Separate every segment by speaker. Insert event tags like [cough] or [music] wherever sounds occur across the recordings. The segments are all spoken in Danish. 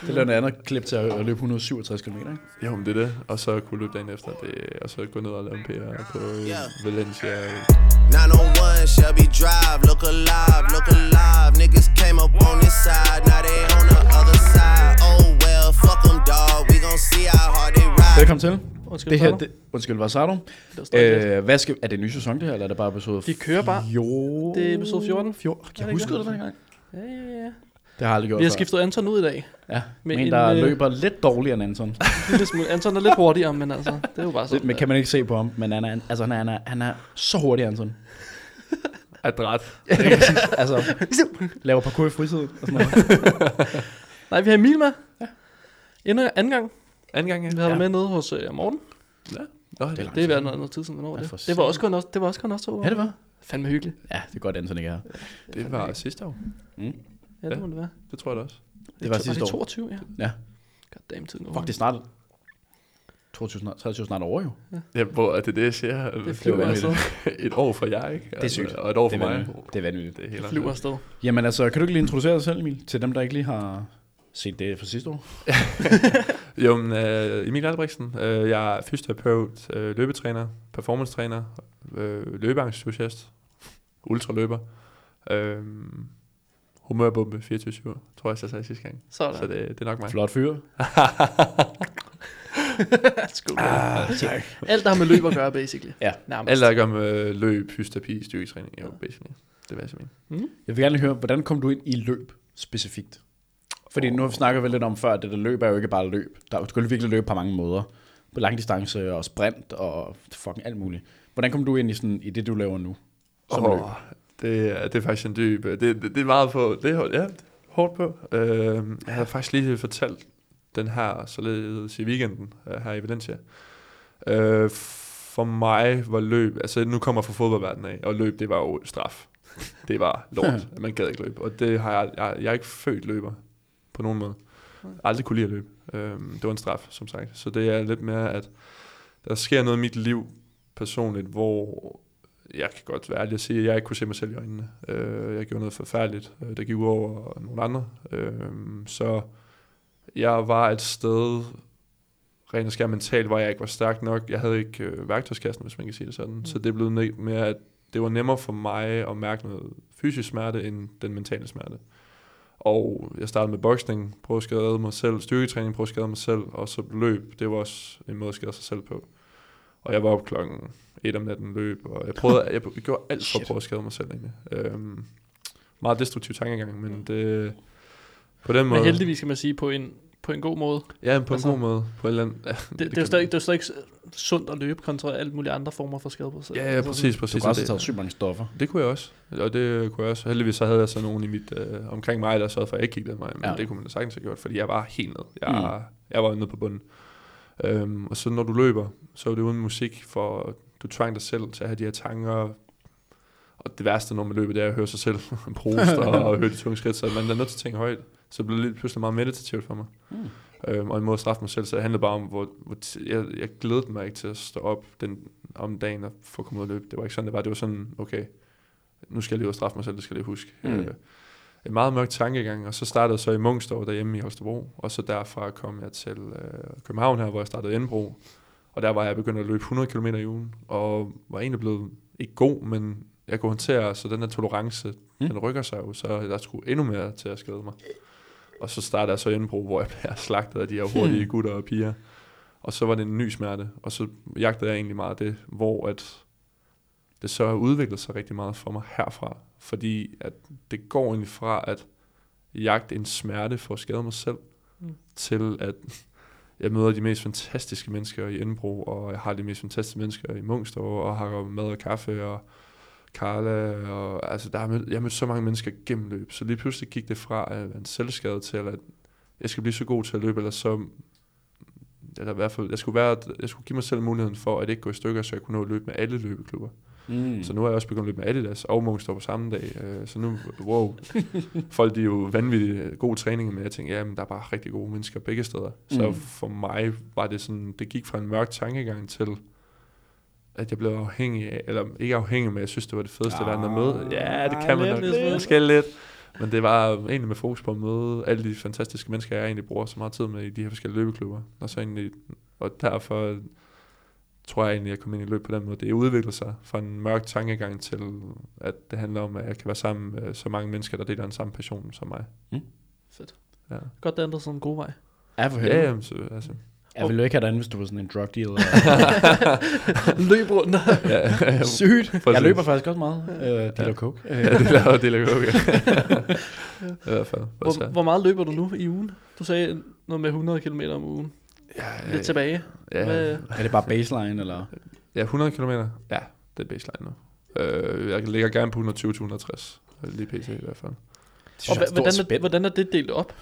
Speaker 1: Det er noget andet klip til at at løbe 167 km, ikke?
Speaker 2: Jo, men det er det. Og så kunne løbe dagen efter, det, og så gå ned og lave en PR på øh, Valencia.
Speaker 3: 901 Shelby Drive, look alive, look alive. Niggas came up on this side, now they on the other side. Oh well, fuck them, dawg. We gon' see how hard they ride.
Speaker 1: Velkommen til.
Speaker 4: Undskyld,
Speaker 1: Det her,
Speaker 4: Sardo.
Speaker 1: det, undskyld, var Sardo.
Speaker 4: Der står ikke
Speaker 1: Øh, hvad skal, er det en ny sæson, det her, eller er det bare episode
Speaker 4: De kører bare.
Speaker 1: Jo.
Speaker 4: Det er episode 14.
Speaker 1: Fjord.
Speaker 4: Er
Speaker 1: Jeg
Speaker 4: det
Speaker 1: husker
Speaker 4: ikke
Speaker 1: det dengang.
Speaker 4: Ja, ja, ja.
Speaker 1: Det har jeg aldrig gjort
Speaker 4: Vi har
Speaker 1: før.
Speaker 4: skiftet Anton ud i dag.
Speaker 1: Ja,
Speaker 4: med
Speaker 1: men en,
Speaker 4: en,
Speaker 1: der
Speaker 4: øh,
Speaker 1: løber lidt dårligere end
Speaker 4: [laughs]
Speaker 1: Anton.
Speaker 4: Lille smule. Anton er lidt hurtigere, men altså, det er jo bare sådan.
Speaker 1: Det men kan man ikke se på ham, men han er, altså, han er, han er, han er så hurtig,
Speaker 4: [laughs]
Speaker 1: Anton. [laughs]
Speaker 2: Adræt.
Speaker 1: altså, laver parkour i fritiden og sådan noget.
Speaker 4: [laughs] Nej, vi har Emil med. Ja. Endnu anden gang.
Speaker 2: Anden gang, ja.
Speaker 4: Vi havde
Speaker 2: ja.
Speaker 4: dig med nede hos øh, Morten.
Speaker 2: Nå, det er
Speaker 1: langt
Speaker 4: Det er
Speaker 1: siden.
Speaker 4: været noget, noget tid siden, hvornår
Speaker 1: Ja,
Speaker 4: det.
Speaker 1: for
Speaker 4: er. Det var også kun også, det var også kun også to år.
Speaker 1: Ja, det var.
Speaker 4: Fandme hyggeligt.
Speaker 1: Ja, det er godt, Anton ikke er her.
Speaker 2: Det var sidste år.
Speaker 4: Ja, det
Speaker 2: Ja.
Speaker 4: må det være.
Speaker 2: Det tror jeg da også.
Speaker 1: Det var sidste
Speaker 4: det
Speaker 1: år.
Speaker 4: 22, ja.
Speaker 1: Ja.
Speaker 4: God damn, tiden går
Speaker 1: Fuck, det er snart 22, snart- 23 snart over jo.
Speaker 2: Ja, hvor er det det, jeg siger?
Speaker 4: Det flyver
Speaker 1: vanvittigt.
Speaker 4: afsted.
Speaker 2: et år for jer, ikke?
Speaker 1: altså. Det er sygt.
Speaker 2: Og et år
Speaker 1: Det
Speaker 2: for
Speaker 1: er
Speaker 2: mig.
Speaker 1: vanvittigt. Det er vanvittigt.
Speaker 2: Det er helt
Speaker 4: Det flyver afsted.
Speaker 1: Jamen altså, kan du ikke lige introducere dig selv, Emil, til dem, der ikke lige har set det fra sidste år?
Speaker 2: Jo, men, øh, Emil Albrechtsen. Øh, jeg er fysioterapeut, øh, løbetræner, performance-træner, øh, løbeentusiast, ultraløber, øh, humørbombe 24-7, tror jeg, jeg sagde sidste gang.
Speaker 4: Sådan.
Speaker 2: Så det, det er nok mig.
Speaker 1: Flot fyr.
Speaker 4: Skål. Alt, der har med løb at gøre, basically.
Speaker 1: Ah, Ja.
Speaker 4: Nærmest.
Speaker 2: Alt, der gør med øh, løb, fysioterapi, styrketræning, jo, basically. Det var jeg simpelthen.
Speaker 1: Jeg vil gerne lige høre, hvordan kom du ind i løb specifikt? Fordi nu har vi snakket vel lidt om før, at det der løb er jo ikke bare løb. Der, du kan jo virkelig løbe på mange måder. På langdistance og sprint og fucking alt muligt. Hvordan kom du ind i, sådan, i det, du laver nu? Som
Speaker 2: Åh,
Speaker 1: løb?
Speaker 2: Det, er- det er faktisk en dyb... Det, det, det er meget på... Det er hårdt, ja, hårdt på. Øh, jeg havde faktisk lige fortalt den her således i weekenden øh, her i Valencia. Øh, for mig var løb... Altså, nu kommer jeg fra fodboldverdenen af, og løb, det var jo straf. Det var
Speaker 1: [laughs]
Speaker 2: lort. Man gad ikke løbe. Og det har jeg, jeg... Jeg er ikke født løber på nogen måde. Aldrig kunne lide at løbe. Øh, det var en straf, som sagt. Så det er lidt mere, at der sker noget i mit liv personligt, hvor jeg kan godt være ærlig og sige, at jeg ikke kunne se mig selv i øjnene. Øh, jeg gjorde noget forfærdeligt, øh, der gik ud over nogle andre. Øh, så jeg var et sted, rent og skær mentalt, hvor jeg ikke var stærk nok. Jeg havde ikke øh, værktøjskassen, hvis man kan sige det sådan. Mm. Så det blev ne- mere, at det var nemmere for mig at mærke noget fysisk smerte, end den mentale smerte. Og jeg startede med boksning, prøvede at skade mig selv, styrketræning, prøvede at skade mig selv, og så løb. Det var også en måde at skade sig selv på. Og jeg var op klokken et om natten løb, og jeg, prøvede, jeg gjorde alt for at
Speaker 1: Shit.
Speaker 2: prøve at skade mig selv egentlig. Øhm, meget destruktiv tankegang, men det, på den måde...
Speaker 4: Men heldigvis kan man sige på en, på en god måde.
Speaker 2: Ja, men på
Speaker 4: Altså,
Speaker 2: en god måde. På en eller anden, ja,
Speaker 4: Det, det, det, er jo stadig, det er jo stadig ikke s- sundt at løbe kontra alle mulige andre former for skade på sig. Altså,
Speaker 2: Ja, ja, præcis, præcis.
Speaker 1: Du har
Speaker 2: og
Speaker 1: også have
Speaker 2: det,
Speaker 1: taget sygt mange stoffer.
Speaker 2: det kunne jeg også. Og det kunne jeg også. Heldigvis så havde jeg så nogen i mit, øh, omkring mig, der sørgede for, at jeg ikke kiggede mig. Men
Speaker 1: Ja.
Speaker 2: ja. det kunne man da sagtens have gjort, fordi jeg var helt ned. Jeg, mm. jeg var nede på bunden. Øhm, og så når du løber, så er det uden musik, for du tvang dig selv til at have de her tanker. Og det værste, når man løber, det er at høre sig selv [laughs] proste og, [laughs] og høre de tunge skridt, så man er nødt til at tænke højt. Så det blev lidt pludselig meget meditativt for mig.
Speaker 1: Mm.
Speaker 2: Øhm, og en måde at straffe mig selv, så det handlede bare om, hvor, hvor t- jeg, jeg glædede mig ikke til at stå op den, om dagen og få kommet ud og løbe. Det var ikke sådan, det var. Det var sådan, okay, nu skal jeg lige ud og straffe mig selv, det skal jeg lige huske.
Speaker 1: Mm.
Speaker 2: Mm. Øh, en meget mørk tankegang, og så startede jeg så i Mungstov derhjemme i Holstebro, og så derfra kom jeg til øh, København her, hvor jeg startede Indbro, og der var jeg begyndt at løbe 100 km i ugen, og var egentlig blevet ikke god, men jeg kunne håndtere, så den her tolerance,
Speaker 1: Mm.
Speaker 2: mm. den rykker sig jo, så der skulle endnu mere til at skade mig. Og så startede jeg så Indbro, hvor jeg blev slagtet af de her hurtige gutter og piger, og så var det en ny smerte, og så jagtede jeg egentlig meget det, hvor at det så har udviklet sig rigtig meget for mig herfra. Fordi at det går egentlig fra at jagte en smerte for at skade mig selv,
Speaker 4: Mm.
Speaker 2: mm. til at jeg møder de mest fantastiske mennesker i Indbro, og jeg har de mest fantastiske mennesker i Mungstov, og har mad og kaffe, og Carla, og altså der har mødt, jeg har mødt så mange mennesker gennem løb, så lige pludselig gik det fra at være en selvskade til, at jeg skal blive så god til at løbe, eller så eller i hvert fald, jeg skulle, være, jeg skulle give mig selv muligheden for at ikke gå i stykker, så jeg kunne nå at løbe med alle løbeklubber.
Speaker 1: Mm.
Speaker 2: Så nu har jeg også begyndt at løbe med Adidas og Monster på samme dag. øh, Så nu,
Speaker 1: [laughs]
Speaker 2: wow. Folk de er jo vanvittigt gode træninger, men jeg tænker, ja, men der er bare rigtig gode mennesker begge steder. Så
Speaker 1: Mm.
Speaker 2: mm. for mig var det sådan, det gik fra en mørk tankegang til, at jeg blev
Speaker 1: Ah,
Speaker 2: afhængig af, eller ikke afhængig, men jeg synes, det var det fedeste at være med. Ja, det kan man
Speaker 4: lidt,
Speaker 2: nok.
Speaker 4: lidt.
Speaker 2: Måske lidt. Men det var øh, egentlig med fokus på at møde alle de fantastiske mennesker, jeg egentlig bruger så meget tid med i de her forskellige løbeklubber. Og, så egentlig, og derfor øh, tror jeg egentlig, at jeg kom ind i løb på den måde. Det udvikler sig fra en mørk tankegang til, at det handler om, at jeg kan være sammen med så mange mennesker, der deler den samme passion som mig.
Speaker 4: Fedt.
Speaker 2: Ja,
Speaker 4: Godt, det ændrede sådan en god
Speaker 1: [laughs]
Speaker 4: vej.
Speaker 1: Ja, for
Speaker 2: ja
Speaker 1: helvede.
Speaker 2: jamen, så, altså,
Speaker 1: Jeg ville jo ikke have dig andet, hvis du var sådan en drug dealer.
Speaker 4: Løb rundt.
Speaker 2: ja,
Speaker 1: Sygt. Jeg
Speaker 2: [laughs] Præcis.
Speaker 1: løber faktisk også meget. Øh, dealer coke.
Speaker 2: ja, det laver det
Speaker 4: [laughs]
Speaker 2: laver okay. I hvert fald. Også
Speaker 4: Hvor,
Speaker 2: her.
Speaker 4: hvor meget løber du nu i ugen? Du sagde noget med 100 km om ugen.
Speaker 2: Ja,
Speaker 4: Lidt tilbage.
Speaker 2: ja,
Speaker 4: Hvad-
Speaker 1: Er det bare baseline, eller?
Speaker 2: ja, 100 km. Ja, det er baseline nu. Øh, jeg ligger gerne på 120-160. øh, Lige pt i hvert fald.
Speaker 4: Og hva- hvordan, er, hvordan er det delt op?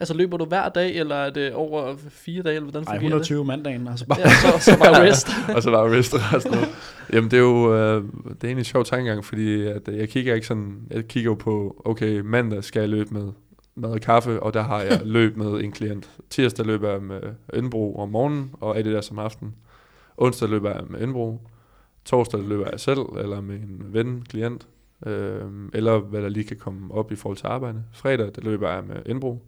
Speaker 4: Altså løber du hver dag, eller er det over fire dage, eller hvordan
Speaker 1: Ej,
Speaker 4: fungerer det?
Speaker 1: 120 mandagen, altså bare.
Speaker 4: Ja, så, så bare rest.
Speaker 2: og så bare rest resten. af- Jamen det er jo øh, det er egentlig en sjov tankegang, fordi at, øh, jeg kigger ikke sådan, jeg kigger jo på, okay, mandag skal jeg løbe med mad og kaffe, og der har jeg løb med en klient. Tirsdag løber jeg med Ønbro om morgenen, og er det der som aften. Onsdag løber jeg med Ønbro. Torsdag løber jeg selv, eller med en ven, klient, øh, eller hvad der lige kan komme op i forhold til arbejde. Fredag, der løber jeg med Ønbro.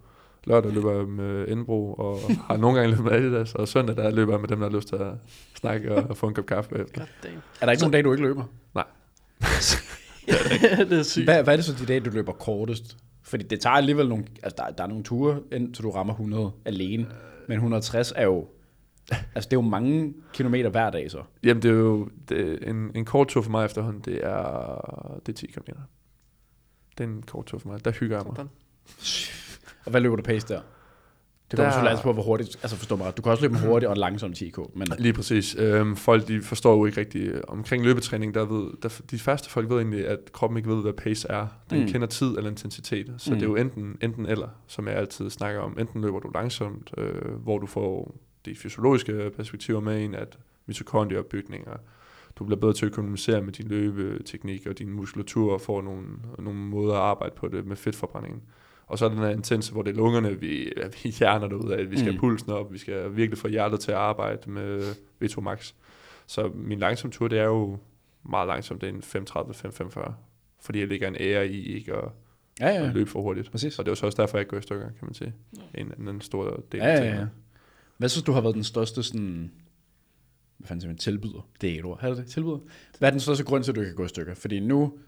Speaker 2: Lørdag løber jeg med Indbro, og har nogle gange løbet med Adidas, og søndag der løber jeg med dem, der har lyst til at snakke og få en kop kaffe bagefter.
Speaker 4: God
Speaker 1: [laughs]
Speaker 4: damn. [laughs]
Speaker 1: Er der ikke nogen dag, du ikke løber?
Speaker 4: det er sygt.
Speaker 1: Hvad, hvad er det så de dage, du løber kortest? Fordi det tager alligevel nogle... Altså, der, der er nogle ture, indtil du rammer 100 alene. Men 160 er jo... Altså, det er jo mange kilometer hver dag, så.
Speaker 2: Jamen, det er jo det er en, en kort tur for mig efterhånden, det er, det er 10 km. Det er en kort tur for mig, der hygger jeg mig.
Speaker 4: Sådan.
Speaker 1: Og hvad løber du pace der? Det kommer
Speaker 2: Der-
Speaker 1: selvfølgelig altid på, hvor hurtigt... Altså, forstå mig ret. Du kan også løbe hurtigt og langsomt 10K, men...
Speaker 2: Lige præcis. Øhm, folk de forstår jo ikke rigtigt. Omkring løbetræning, der ved, der, de første folk ved egentlig, at kroppen ikke ved, hvad pace er. Den
Speaker 1: Mm.
Speaker 2: mm. kender tid eller intensitet. Så
Speaker 1: Mm.
Speaker 2: mm. det er jo enten, enten eller, som jeg altid snakker om. Enten løber du langsomt, øh, hvor du får de fysiologiske perspektiver med ind, at mitokondrieopbygninger, du bliver bedre til at økonomisere med din løbeteknik og din muskulatur og får nogle, nogle måder at arbejde på det med fedtforbrændingen. Og så er den her intense, hvor det er lungerne, vi, vi hjerner det ud af, vi skal
Speaker 1: Mm.
Speaker 2: mm. pulsen op, vi skal virkelig få hjertet til at arbejde med V2 Max. Så min langsom tur, det er jo meget langsomt, det er en 5.30-5.45, fordi jeg ligger en ære i ikke at,
Speaker 1: Ja, ja,
Speaker 2: at
Speaker 1: ja.
Speaker 2: løbe for hurtigt.
Speaker 1: Præcis.
Speaker 2: Og det er jo så også derfor, jeg går i stykker, kan man sige. En, en, en stor del
Speaker 1: Ja,
Speaker 2: af
Speaker 1: ja,
Speaker 2: tingene.
Speaker 1: ja. Hvad synes du har været den største sådan... Hvad fanden siger man? Tilbyder. Det er ikke et ord. Har du det? Tilbyder? Hvad er den største grund til, at du ikke kan gå i stykker? Fordi nu...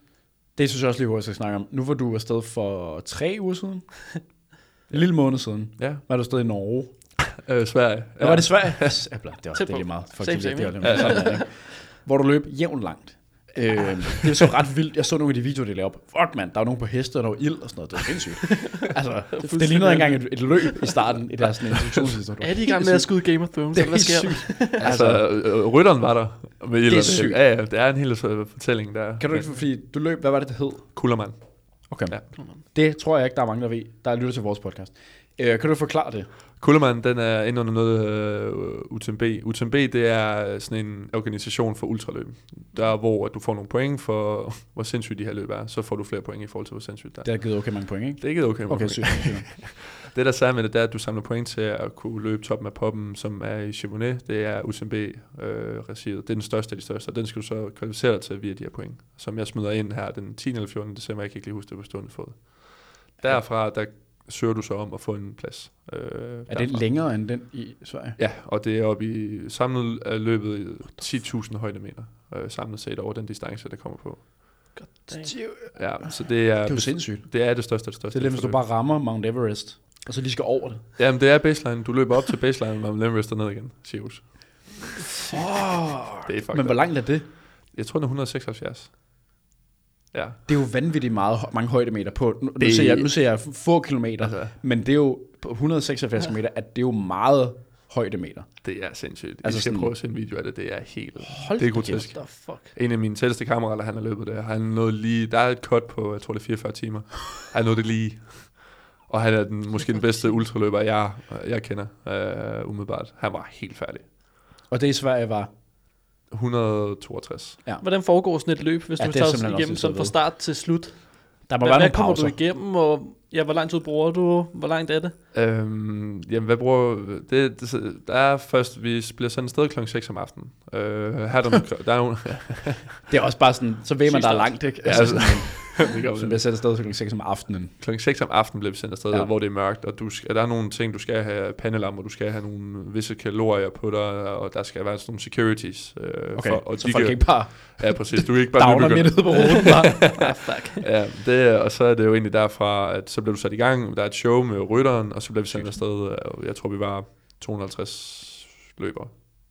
Speaker 1: Det synes jeg også lige hurtigt, jeg skal snakke om. Nu var du afsted for tre uger
Speaker 4: [laughs]
Speaker 1: siden. En lille måned siden.
Speaker 2: Ja,
Speaker 1: Var du afsted i Norge.
Speaker 2: øh, Sverige.
Speaker 1: Ja.
Speaker 2: Ja.
Speaker 1: Var det
Speaker 4: [laughs]
Speaker 1: Sverige? Æbler, det var det
Speaker 4: Tæt
Speaker 1: er lige
Speaker 4: på.
Speaker 1: meget. Fuck,
Speaker 4: Same,
Speaker 1: det, er lige-
Speaker 4: same,
Speaker 1: det, var det, sådan, der, ikke? Hvor du løb jævn langt. Øhm, det er så ret vildt. Jeg så nogle af de videoer, de lavede op. Fuck mand, der var nogen på heste og noget ild og sådan noget. Det var
Speaker 4: [laughs]
Speaker 1: sindssygt. altså, det, det lignede ikke engang et, et, løb i starten i deres
Speaker 4: [laughs]
Speaker 1: sådan introduktionshistorie.
Speaker 4: Er de i gang med at skyde Game of Thrones,
Speaker 1: Det er
Speaker 4: eller hvad
Speaker 1: helt
Speaker 4: sker der?
Speaker 1: sygt. [laughs] altså,
Speaker 2: Altså, altså rytteren var der. Med det
Speaker 1: er sygt.
Speaker 2: Ja, ja, det er en hel øh, fortælling der.
Speaker 1: kan du ikke, fordi du løb, hvad var det, det hed?
Speaker 2: Kullermand.
Speaker 1: Okay. Ja.
Speaker 2: Ja.
Speaker 1: Det tror jeg ikke, der er mange, der ved, der lytter til vores podcast. Øh, kan du forklare det?
Speaker 2: Kullermand, den er inde under noget øh, UTMB. UTMB, det er sådan en organisation for ultraløb. Der er, hvor at du får nogle point for, [laughs] hvor sindssygt de her løb er. Så får du flere point i forhold til, hvor sindssygt det er.
Speaker 1: Det har givet okay mange point, ikke?
Speaker 2: Det er ikke okay. med
Speaker 1: Okay,
Speaker 2: point.
Speaker 1: sygt. sygt.
Speaker 2: Det, der er særligt med det, det er, at du samler point til at kunne løbe toppen af poppen, som er i Chibonnet. Det er UTMB-regiet. øh, det er den største af de største, og den skal du så kvalificere dig til via de her point, som jeg smider ind her den 10. eller 14. december. Jeg kan ikke lige huske det på stående fod. Derfra, der søger du så om at få en plads. Øh,
Speaker 1: er det længere end den i Sverige?
Speaker 2: Ja, og det er oppe i samlet er løbet i 10.000 højdemeter, øh, samlet set over den distance, der kommer på.
Speaker 4: God damn.
Speaker 2: Ja, så det er,
Speaker 1: Ah, Det er jo sindssygt.
Speaker 2: det, er det største af Altså, det
Speaker 1: Det
Speaker 2: største.
Speaker 1: er det, hvis du bare rammer Mount Everest, og så lige skal over det.
Speaker 2: Jamen, det er baseline. Du løber op til baseline, og man rester ned igen, Sivus. Det er fucked
Speaker 1: Men hvor
Speaker 2: up.
Speaker 1: langt er det?
Speaker 2: Jeg tror, den er 176. Ja.
Speaker 1: Det er jo vanvittigt meget, hø- mange højdemeter på. Nu, nu,
Speaker 2: Det-
Speaker 1: ser jeg, nu ser jeg få kilometer,
Speaker 2: Altså.
Speaker 1: men det er jo på 176 meter, at det er jo meget højdemeter.
Speaker 2: Det er sindssygt.
Speaker 1: Altså
Speaker 2: Altså, I skal
Speaker 1: sådan-
Speaker 2: prøve at se en video af det. Det er helt...
Speaker 1: Hold
Speaker 2: det er
Speaker 1: da kæft.
Speaker 2: grotesk.
Speaker 4: The fuck.
Speaker 2: En af mine tætteste kammerater, han har løbet der, han nåede lige... Der er et cut på, jeg tror det er 44 timer. Han nåede det lige. Og han er den, måske den bedste ultraløber, jeg, jeg kender øh, umiddelbart. Han var helt færdig.
Speaker 1: Og det i Sverige var...
Speaker 2: 162.
Speaker 4: Hvordan foregår sådan et løb, hvis
Speaker 1: Ja,
Speaker 4: du
Speaker 1: det er
Speaker 4: tager
Speaker 1: simpelthen
Speaker 4: sådan
Speaker 1: også
Speaker 4: igennem
Speaker 1: lidt
Speaker 4: sådan fra
Speaker 1: sødt.
Speaker 4: start til slut?
Speaker 1: Der må
Speaker 4: Hvad,
Speaker 1: være
Speaker 4: hvad
Speaker 1: nogle
Speaker 4: kommer
Speaker 1: pauser.
Speaker 4: du igennem, og ja, hvor lang tid bruger du? Hvor langt er det?
Speaker 2: Øhm, jamen, hvad bruger... Det, det, der er først... Vi bliver sendt sted klokken 6 om aftenen. Øh, her er der, nogle- der er nogle,
Speaker 1: [laughs] Det er også bare sådan, så ved man,
Speaker 4: Sygt
Speaker 1: der er
Speaker 4: start.
Speaker 1: langt, ikke?
Speaker 2: Ja,
Speaker 1: Altså,
Speaker 2: altså, det gør
Speaker 1: som
Speaker 2: man.
Speaker 1: bliver sendt afsted kl. 6 om aftenen.
Speaker 2: Klokken 6 om aftenen bliver vi sendt afsted,
Speaker 1: Ja.
Speaker 2: ja. hvor det er mørkt, og du skal, der er nogle ting, du skal have pandelamper, du skal have nogle visse kalorier på dig, og der skal være sådan nogle securities. Øh,
Speaker 1: Okay,
Speaker 2: for, og
Speaker 1: så folk kan ikke bare
Speaker 2: Ja, præcis. Du kan
Speaker 1: [laughs]
Speaker 2: ikke bare
Speaker 1: downer
Speaker 2: nybegynde.
Speaker 1: midt ude på ruten. nej.
Speaker 2: [laughs]
Speaker 4: Ah, fuck.
Speaker 2: Ja, det, er- og så er det jo egentlig derfra, at så blev du sat i gang, der er et show med rytteren, og så blev vi sendt afsted, og jeg tror, vi var 250 løbere,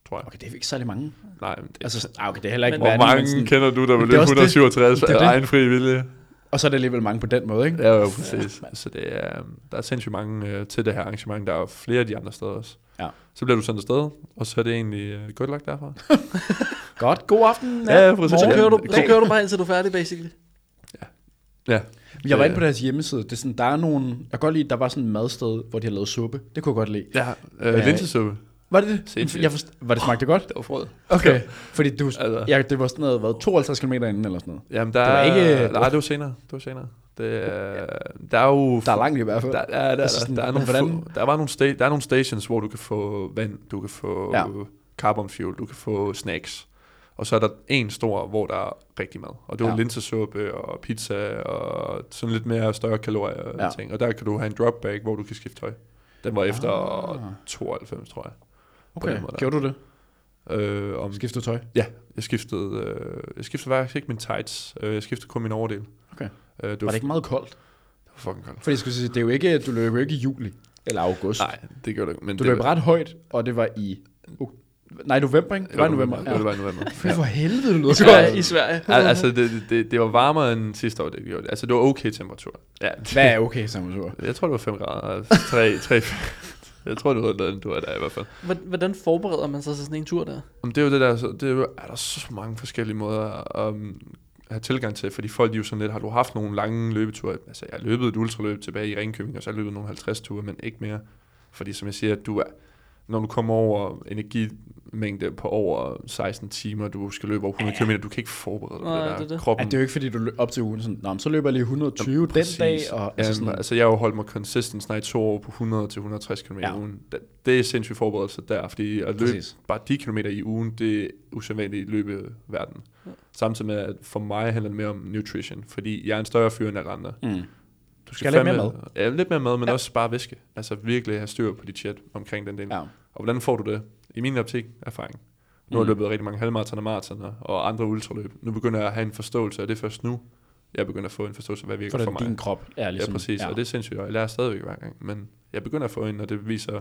Speaker 2: tror jeg.
Speaker 1: Okay, det er ikke særlig mange.
Speaker 2: Nej, men det, altså,
Speaker 1: Altså, sådan- ah, okay, det er heller ikke
Speaker 4: Men-
Speaker 2: hvor
Speaker 1: mange,
Speaker 2: mange
Speaker 1: men sådan-
Speaker 2: kender du, der vil
Speaker 1: det er
Speaker 2: løbe
Speaker 1: også det.
Speaker 2: 167
Speaker 1: Det er
Speaker 2: af
Speaker 1: det.
Speaker 2: egen fri vilje?
Speaker 1: Og så er det alligevel mange på den måde, ikke?
Speaker 2: Ja, jo, præcis. så det er, øhm, der er sindssygt mange øh, til det her arrangement. Der er jo flere af de andre steder også.
Speaker 1: Ja.
Speaker 2: Så bliver du sendt afsted, og så er det egentlig øh, godt
Speaker 1: [laughs]
Speaker 2: lagt derfra.
Speaker 1: Godt, god aften.
Speaker 2: Ja, ja, præcis.
Speaker 4: Så
Speaker 1: morgen.
Speaker 4: kører, du, så
Speaker 1: Dag.
Speaker 4: kører du bare indtil du er færdig, basically.
Speaker 2: Ja,
Speaker 1: Jeg var
Speaker 2: Øh.
Speaker 1: inde på deres hjemmeside. Det er sådan, der er nogle... Jeg kan godt lide, at der var sådan et madsted, hvor de har lavet suppe. Det kunne jeg godt lide.
Speaker 2: ja. Øh,
Speaker 1: Ja.
Speaker 2: linsesuppe.
Speaker 1: Var det det?
Speaker 2: Sindssygt.
Speaker 1: Jeg forst- var det smagte godt?
Speaker 2: Det var frød.
Speaker 1: Okay. Fordi du,
Speaker 2: Altså.
Speaker 1: ja, det var sådan noget, hvad, 52 km inden eller sådan noget.
Speaker 2: Jamen, der
Speaker 1: Det var ikke-
Speaker 2: er... Nej, det var senere. Det var senere. Det, øh, der er jo...
Speaker 1: Der er langt i hvert fald.
Speaker 2: Der, der, der, der,
Speaker 1: Altså sådan,
Speaker 2: der, er nogle,
Speaker 1: hvordan-
Speaker 2: få- der, var nogle sta- der er nogle stations, hvor du kan få vand, du kan få
Speaker 1: Ja.
Speaker 2: ja. carbon fuel, du kan få snacks. Og så er der en stor, hvor der er rigtig mad. Og det var
Speaker 1: Ja.
Speaker 2: ja. linsesuppe og pizza og sådan lidt mere større kalorier og
Speaker 1: Ja.
Speaker 2: ja. ting. Og der kan du have en drop bag, hvor du kan skifte tøj. Den var efter
Speaker 1: Ah.
Speaker 2: 92, tror jeg. på
Speaker 1: Okay,
Speaker 2: den måde der.
Speaker 1: gjorde du det?
Speaker 2: Øh, om,
Speaker 1: Skiftede tøj?
Speaker 2: ja, jeg skiftede, øh, jeg skiftede faktisk ikke min tights. Øh, jeg skiftede kun min overdel.
Speaker 1: Okay.
Speaker 2: Øh, det var,
Speaker 1: Var det ikke meget koldt?
Speaker 2: det var fucking koldt.
Speaker 1: Fordi jeg skulle sige, det er jo ikke, du løb jo ikke i juli eller august.
Speaker 2: Nej, det gjorde det ikke. Men
Speaker 1: Du
Speaker 2: det
Speaker 1: løb ret højt, og det var i... ok- Nej, november, ikke? Det var i november.
Speaker 2: Ja.
Speaker 1: Ja.
Speaker 2: Det var i november.
Speaker 1: Fy for helvede, det lyder så
Speaker 4: Ja, i
Speaker 1: godt.
Speaker 4: Sverige.
Speaker 2: Al- altså, det, det, det var varmere end sidste år, det gjorde det. Altså, det var okay temperatur. Ja,
Speaker 1: [laughs] Hvad er okay temperatur?
Speaker 2: jeg tror, det var 5 grader. 3, 3, [laughs] jeg tror, det var den, du var der i hvert fald.
Speaker 4: Hvor- Hvordan forbereder man sig til sådan en tur der?
Speaker 2: Men det er jo det der, så, det er, jo, er der så mange forskellige måder at um, have tilgang til, fordi folk de er jo sådan lidt, har du haft nogle lange løbeture? Altså, jeg har løbet et ultraløb tilbage i Ringkøbing, og så har jeg løbet nogle 50 ture, men ikke mere. Fordi som jeg siger, du er, når du kommer over energimængde på over 16 timer, du skal løbe over 100 km, du kan ikke forberede dig på
Speaker 4: Nej,
Speaker 2: det der.
Speaker 4: det er det.
Speaker 1: Ja,
Speaker 2: Kroppen
Speaker 1: det er jo ikke, fordi du løb op til ugen sådan, Nå, men så løber jeg lige 120 Jamen, den
Speaker 2: Præcis.
Speaker 1: dag, og altså
Speaker 2: Jamen,
Speaker 1: sådan,
Speaker 2: altså, jeg har jo holdt mig consistent snart i to år på 100 til 160 km
Speaker 1: Ja.
Speaker 2: ja. i ugen. Det- Det er sindssygt forberedelse der, fordi at løbe
Speaker 1: Præcis.
Speaker 2: Præcis. bare de kilometer i ugen, det er usædvanligt i løbeverdenen. Ja. Samtidig med, at for mig handler det mere om nutrition, fordi jeg er en større fyr end alle andre.
Speaker 1: mm.
Speaker 2: Du
Speaker 1: skal have lidt
Speaker 2: fandme- Ja, lidt mere mad, men ja. også bare væske. Altså virkelig have styr på dit chat omkring den del.
Speaker 1: ja.
Speaker 2: Og hvordan får du det? I min optik, erfaring. Nu har jeg
Speaker 1: Mm.
Speaker 2: løbet rigtig mange halvmaratoner, maratoner og andre ultraløb. Nu begynder jeg at have en forståelse af det først nu. Jeg begynder at få en forståelse af, hvad
Speaker 1: for
Speaker 2: virker for,
Speaker 1: den,
Speaker 2: mig.
Speaker 1: din krop. Ja,
Speaker 2: Ligesom,
Speaker 1: ligesom,
Speaker 2: ja, præcis, ja. og det er sindssygt, og jeg lærer stadigvæk hver gang. Men jeg begynder at få en, og det viser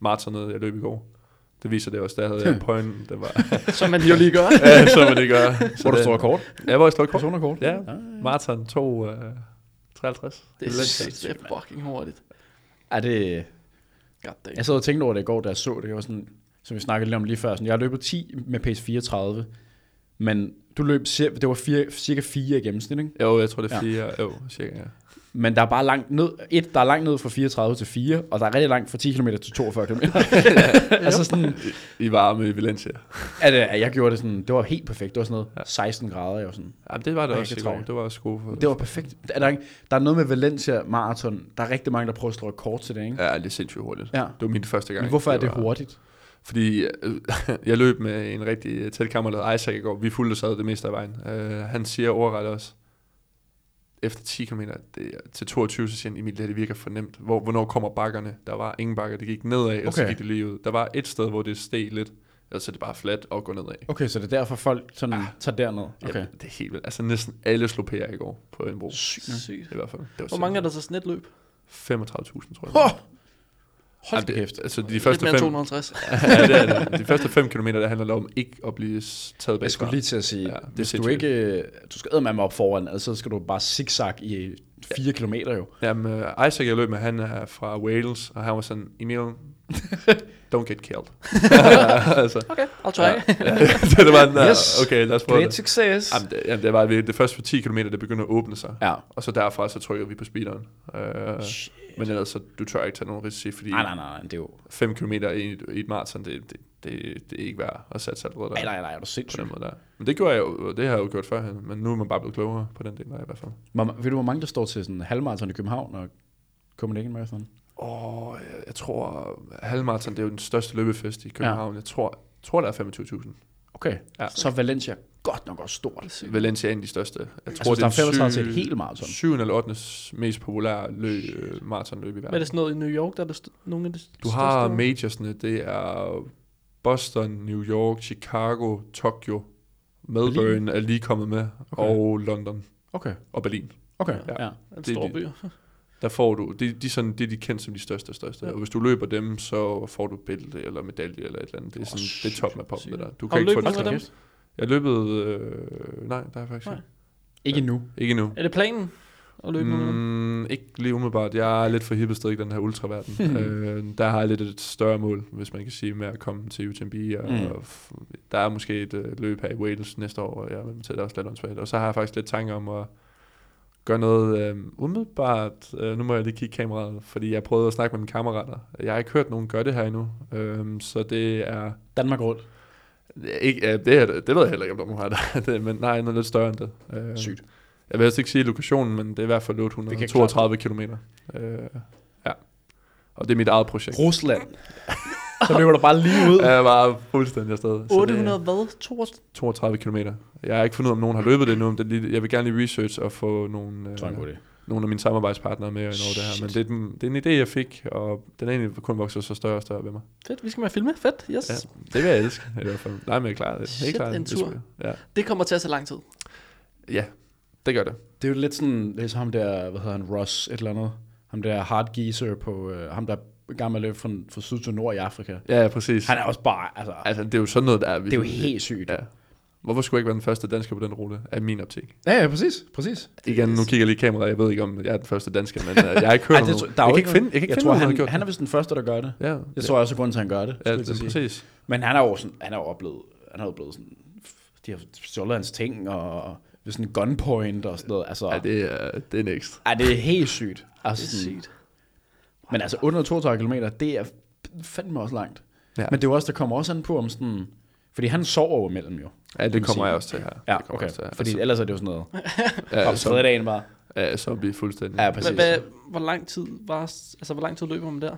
Speaker 2: maratonet, jeg løb i går. Det viser det også, der [laughs] havde jeg en point, der var,
Speaker 4: Som man jo lige gør.
Speaker 2: ja, [laughs] så man det gør. Så
Speaker 1: Hvor du
Speaker 2: det-
Speaker 1: står kort?
Speaker 2: Ja, hvor jeg slår kort. Ah,
Speaker 1: Personerkort?
Speaker 2: Ja, maraton 2, uh, 53.
Speaker 4: Det er,
Speaker 2: lidt-
Speaker 4: det er fucking hurtigt.
Speaker 1: Er det...
Speaker 4: Goddamn.
Speaker 1: Jeg sad og tænkte over det i går, da jeg så det. Jeg var sådan, som vi snakkede lidt om lige før. Sådan, jeg har løbet 10 med pace 34, men du løb, cir- det var fire, cirka 4 i gennemsnit, ikke?
Speaker 2: Jo, jeg tror, det er
Speaker 1: Ja.
Speaker 2: fire. Ja. Jo, cirka, ja.
Speaker 1: Men der er bare langt ned, et, der er langt ned fra 34 til 4, og der er rigtig langt fra 10 km til 42 km. [laughs] altså sådan,
Speaker 2: I varme i Valencia.
Speaker 1: at, øh, at jeg gjorde det sådan, det var helt perfekt. Det var sådan noget 16 grader, jeg var sådan.
Speaker 2: Ja, det var det
Speaker 1: Ej,
Speaker 2: også
Speaker 1: det
Speaker 2: i
Speaker 1: tror
Speaker 2: går.
Speaker 1: jeg.
Speaker 2: Det var også gode for.
Speaker 1: Det var perfekt. Er der, ikke, der er noget med Valencia Marathon. Der er rigtig mange, der prøver at slå rekord til det, ikke?
Speaker 2: Ja, det er sindssygt hurtigt.
Speaker 1: Ja.
Speaker 2: Det var min første gang.
Speaker 1: Men hvorfor er det
Speaker 2: var-
Speaker 1: hurtigt?
Speaker 2: Fordi øh, [laughs] jeg løb med en rigtig tæt kammerat, der hedder Isaac i går. Vi fulgte sad det meste af vejen. Øh, han siger overret også, efter 10 km det, er- til 22, så siger han, Emil, det, her, det virker fornemt. Hvor, hvornår kommer bakkerne? Der var ingen bakker, det gik nedad, og så
Speaker 1: Okay.
Speaker 2: gik det lige ud. Der var et sted, hvor det steg lidt, og så er det bare fladt og går nedad.
Speaker 1: Okay, så det er derfor, folk sådan, ah. tager derned. Okay.
Speaker 2: Jamen, det er helt vildt. Altså næsten alle slog PR i går på en bro.
Speaker 1: Sygt.
Speaker 4: Sygt.
Speaker 2: I hvert fald. Det var
Speaker 4: Hvor mange er der så snetløb?
Speaker 2: 35.000, tror jeg.
Speaker 1: Hå! Hold
Speaker 2: Jamen,
Speaker 1: da
Speaker 2: det-
Speaker 1: kæft.
Speaker 2: Altså, de
Speaker 4: Lidt
Speaker 2: første
Speaker 4: mere end
Speaker 2: fem, [laughs]
Speaker 4: 250.
Speaker 2: ja, det er det. De første 5 km, der handler det om ikke at blive s- taget bag
Speaker 1: Jeg skulle lige til at sige,
Speaker 2: Ja,
Speaker 1: ja,
Speaker 2: det er
Speaker 1: hvis du
Speaker 2: sindssygt.
Speaker 1: ikke... øh, Du skal med mig op foran, altså så skal du bare zigzag i 4 ja. kilometer jo.
Speaker 2: Jamen, uh, Isaac, jeg løb med, han er fra Wales, og han var sådan, Emil,
Speaker 1: [laughs]
Speaker 2: don't get killed. [laughs] altså,
Speaker 4: Okay, I'll try.
Speaker 2: det var den der,
Speaker 1: Yes.
Speaker 2: okay, lad os prøve det.
Speaker 1: success.
Speaker 2: Jamen, det, jamen, det var virkelig- det første for 10 km, det begynder at åbne sig.
Speaker 1: Ja.
Speaker 2: Og så derfra, så trykker vi på speederen. Uh,
Speaker 1: Shit.
Speaker 2: men ellers, så du tør ikke tage nogen risici, fordi
Speaker 1: Nej, nej, nej, nej, det er jo...
Speaker 2: 5 km i, et- i et maraton, det, det, det, det er ikke værd at sætte sig allerede der.
Speaker 1: Nej, nej, nej, er du
Speaker 2: På
Speaker 1: sindssyg.
Speaker 2: den måde der. Men det gjorde jeg jo, og det har jeg jo gjort førhen, men nu er man bare blevet klogere på den del der i hvert fald.
Speaker 1: Hvor, ved du, hvor mange der står til sådan halvmarathon i København og Copenhagen Marathon?
Speaker 2: Åh, oh, jeg, jeg tror, halvmarathon, det er jo den største løbefest i København. Ja. Jeg tror, tror, der er 25.000.
Speaker 1: Okay,
Speaker 2: Ja.
Speaker 1: ja. så er Valencia godt nok også stort. Jeg
Speaker 2: Valencia er en af de største. Jeg tror,
Speaker 1: tror, altså,
Speaker 2: det er
Speaker 1: der er 35
Speaker 2: den
Speaker 1: til et
Speaker 2: syv-
Speaker 1: helt maraton.
Speaker 2: syvende eller 8. mest populære løb, øh, maratonløb i
Speaker 4: Men er
Speaker 2: verden.
Speaker 4: det sådan noget i New York, der er der st- nogle af de
Speaker 2: Du har majorsne, det er Boston, New York, Chicago, Tokyo, Melbourne Berlin. er lige kommet med, okay.
Speaker 1: Okay.
Speaker 2: og London
Speaker 1: Okay,
Speaker 2: og Berlin.
Speaker 1: okay,
Speaker 2: Ja.
Speaker 1: ja. ja.
Speaker 2: det er
Speaker 4: det, store
Speaker 2: de-
Speaker 4: byer.
Speaker 2: Der får du, det, de, er sådan, det er de kendt som de største og største. Ja.
Speaker 4: Ja.
Speaker 2: Og hvis du løber dem, så får du bælte eller medalje eller et eller andet. Det er,
Speaker 1: Åh,
Speaker 2: sådan, det er
Speaker 1: sygt.
Speaker 2: toppen af poppen, det
Speaker 4: Sygt.
Speaker 2: der. Du
Speaker 4: Har du løbet
Speaker 2: et
Speaker 4: nogen af dem?
Speaker 2: knæ. Jeg løbede, øh, nej, der er jeg faktisk
Speaker 4: Nej.
Speaker 2: ikke.
Speaker 1: Ikke endnu.
Speaker 2: Ikke endnu.
Speaker 4: Er det planen at løbe mm. nogle af dem?
Speaker 2: Mm, ikke lige umiddelbart. Jeg er lidt for hippet stadig i den her ultraverden. øh, der har jeg lidt et større mål, hvis man kan sige, med at komme til UTMB. Og, mm.
Speaker 1: Mm.
Speaker 2: og f- der er måske et øh, løb her i Wales næste år, og jeg vil til det er også lidt åndssvagt. Og så har jeg faktisk lidt tanker om at gøre noget øh, umiddelbart. Øh, nu må jeg lige kigge i kameraet, fordi jeg prøvede at snakke med mine kammerater. Jeg har ikke hørt nogen gøre det her endnu, øh, så det er...
Speaker 1: Danmark rundt.
Speaker 2: Ikke, ja, det, er, det ved jeg heller ikke, om der er nogen her, der er det, [laughs] men nej, noget lidt større end det. Øh,
Speaker 1: Sygt.
Speaker 2: jeg vil helst ikke sige lokationen, men det er i hvert fald
Speaker 1: Det kan
Speaker 2: 832 km. Øh, ja. Og det er mit eget projekt.
Speaker 1: Rusland. [laughs] så løber du bare lige ud.
Speaker 2: Jeg er bare fuldstændig afsted. Så
Speaker 4: 800 hvad? 32?
Speaker 2: Det er 32 km. Jeg har ikke fundet ud af, om nogen har løbet det endnu. Om det er lige, jeg vil gerne lige research og få nogle,
Speaker 1: Så er en god
Speaker 2: øh,
Speaker 1: idé.
Speaker 2: nogle af mine samarbejdspartnere med ind over det her. Men
Speaker 1: Shit.
Speaker 2: det er, den- det er en idé, jeg fik, og den er egentlig kun vokset så større og større ved mig.
Speaker 4: Fedt, vi skal med at filme. Fedt, yes.
Speaker 2: Ja,
Speaker 4: Ja.
Speaker 2: det vil jeg elske i hvert fald. Nej, men jeg klarer det.
Speaker 4: Shit, en tur.
Speaker 2: Ja.
Speaker 4: Det kommer til at tage lang tid.
Speaker 2: ja, det gør det.
Speaker 1: Det er jo lidt sådan, det er så ham der, hvad hedder han, Ross et eller andet. Ham der hard geezer på, øh, ham der gammel løb fra, fra syd til nord i Afrika.
Speaker 2: Ja, ja, præcis.
Speaker 1: Han er også bare, altså,
Speaker 2: Altså, det er jo sådan noget, der er...
Speaker 1: det er jo helt sygt.
Speaker 2: Ja. Hvorfor skulle jeg ikke være den første dansker på den rute af min optik?
Speaker 1: Ja, ja, præcis, præcis.
Speaker 2: Igen, nu kigger jeg lige i kameraet, jeg ved ikke, om jeg er den første dansker, men øh, jeg har
Speaker 1: [laughs]
Speaker 2: ikke hørt
Speaker 1: Ej,
Speaker 2: om
Speaker 1: det,
Speaker 2: nogen.
Speaker 1: tror-
Speaker 2: Jeg
Speaker 1: der er
Speaker 2: kan
Speaker 1: jo
Speaker 2: ikke
Speaker 1: noget-
Speaker 2: finde, jeg kan ikke
Speaker 1: jeg
Speaker 2: finde
Speaker 1: tror,
Speaker 2: nogen, der har
Speaker 1: han,
Speaker 2: gjort
Speaker 1: han er
Speaker 2: det.
Speaker 1: vist den første, der gør det.
Speaker 2: Ja,
Speaker 1: Jeg tror også, at grunden til, at han gør det. skulle
Speaker 2: ja,
Speaker 1: jeg til at
Speaker 2: det,
Speaker 1: sige. Ah.
Speaker 2: præcis.
Speaker 1: Men han er jo sådan, han er jo oplevet, han er jo blevet sådan, de har stjålet hans ting, og ved sådan gunpoint og sådan noget. Altså,
Speaker 2: Ja,
Speaker 1: ej, det,
Speaker 2: det er, det er next.
Speaker 1: ej, det er helt sygt. Altså,
Speaker 4: Det er
Speaker 1: sådan-
Speaker 4: sygt.
Speaker 1: Men altså, 132 km, det er fandme også langt.
Speaker 2: Ja.
Speaker 1: Ja. Men det er jo også, der kommer også an på, om sådan... Fordi han sover jo imellem jo.
Speaker 2: Ja, det
Speaker 1: man
Speaker 2: kommer
Speaker 1: sige.
Speaker 2: jeg også til her.
Speaker 1: Ja,
Speaker 2: det kommer
Speaker 1: okay.
Speaker 2: jeg Også til, her.
Speaker 1: Fordi
Speaker 2: altså,
Speaker 1: ellers er det jo sådan noget.
Speaker 2: ja, altså-
Speaker 1: Kom,
Speaker 2: så,
Speaker 1: tredje dagen bare.
Speaker 2: ja, så bliver fuldstændig.
Speaker 1: Ja,
Speaker 4: Hvad,
Speaker 1: præcis.
Speaker 4: hvad, hvor lang tid var, altså, hvor lang tid løber man der?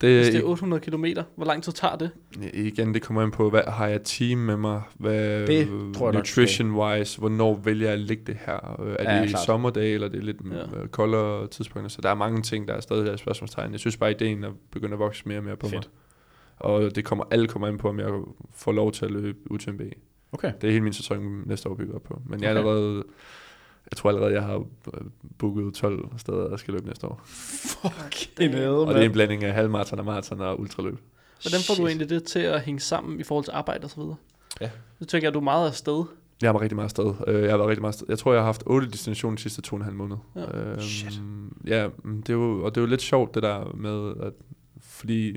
Speaker 2: det,
Speaker 4: Hvis det er 800 km, hvor lang tid tager det?
Speaker 2: igen, det kommer ind på, hvad har jeg team med mig? Hvad,
Speaker 1: Det tror jeg nok,
Speaker 2: Nutrition-wise, hvornår vælger jeg at ligge det her? Øh, Er
Speaker 1: Ja,
Speaker 2: det i
Speaker 1: klart.
Speaker 2: sommerdage, eller er det lidt
Speaker 4: Ja.
Speaker 2: ja. koldere tidspunkter? Så der er mange ting, der er stadig der spørgsmålstegn. Jeg synes bare, at ideen er begyndt at vokse mere og mere på Fedt.
Speaker 1: Fedt.
Speaker 2: mig. Og det kommer, alle kommer ind på, om jeg får lov til at løbe UTMB.
Speaker 1: Okay.
Speaker 2: Det er hele min sæson næste år bygget op på. Men jeg,
Speaker 1: Okay.
Speaker 2: er allerede, jeg tror allerede, jeg har øh, booket 12 steder, jeg skal løbe næste år.
Speaker 1: Fuck. Det er noget,
Speaker 2: Og det er en
Speaker 1: mand.
Speaker 2: blanding af halvmarathon og marathon og ultraløb.
Speaker 4: Hvordan får du
Speaker 1: Shit.
Speaker 4: egentlig det til at hænge sammen i forhold til arbejde og så videre?
Speaker 2: Ja.
Speaker 4: Så tænker jeg, at du er meget afsted.
Speaker 2: Jeg har været rigtig meget afsted. Øh, Jeg har været rigtig meget afsted. Jeg tror, jeg har haft otte destinationer de sidste to og en halv måned.
Speaker 4: Ja.
Speaker 2: Øhm,
Speaker 1: Shit.
Speaker 2: Ja, mm, det er jo, og det er jo lidt sjovt, det der med, at, fordi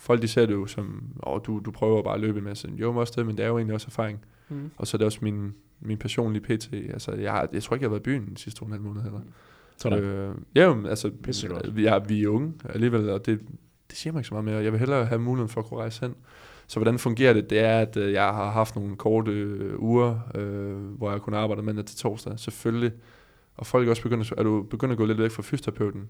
Speaker 2: folk de ser det jo som, åh, du, du prøver bare at løbe en masse. Jo, men også det, men det er jo egentlig også erfaring.
Speaker 4: Mm.
Speaker 2: Og så er det også min, min personlige PT. Altså, jeg, har, jeg tror ikke, jeg har været i byen de sidste to og en halv måned heller.
Speaker 4: Mm.
Speaker 1: Sådan.
Speaker 2: Øh, ja, jo, men altså,
Speaker 1: Pissegodt.
Speaker 2: vi er, vi er unge alligevel, og det, det siger mig ikke så meget mere. Jeg vil hellere have muligheden for at kunne rejse hen. Så hvordan fungerer det? Det er, at øh, jeg har haft nogle korte øh, uger, øh, hvor jeg kunne arbejde mandag til torsdag, selvfølgelig. Og folk er også begyndt at, er du begyndt at gå lidt væk fra fysioterapeuten.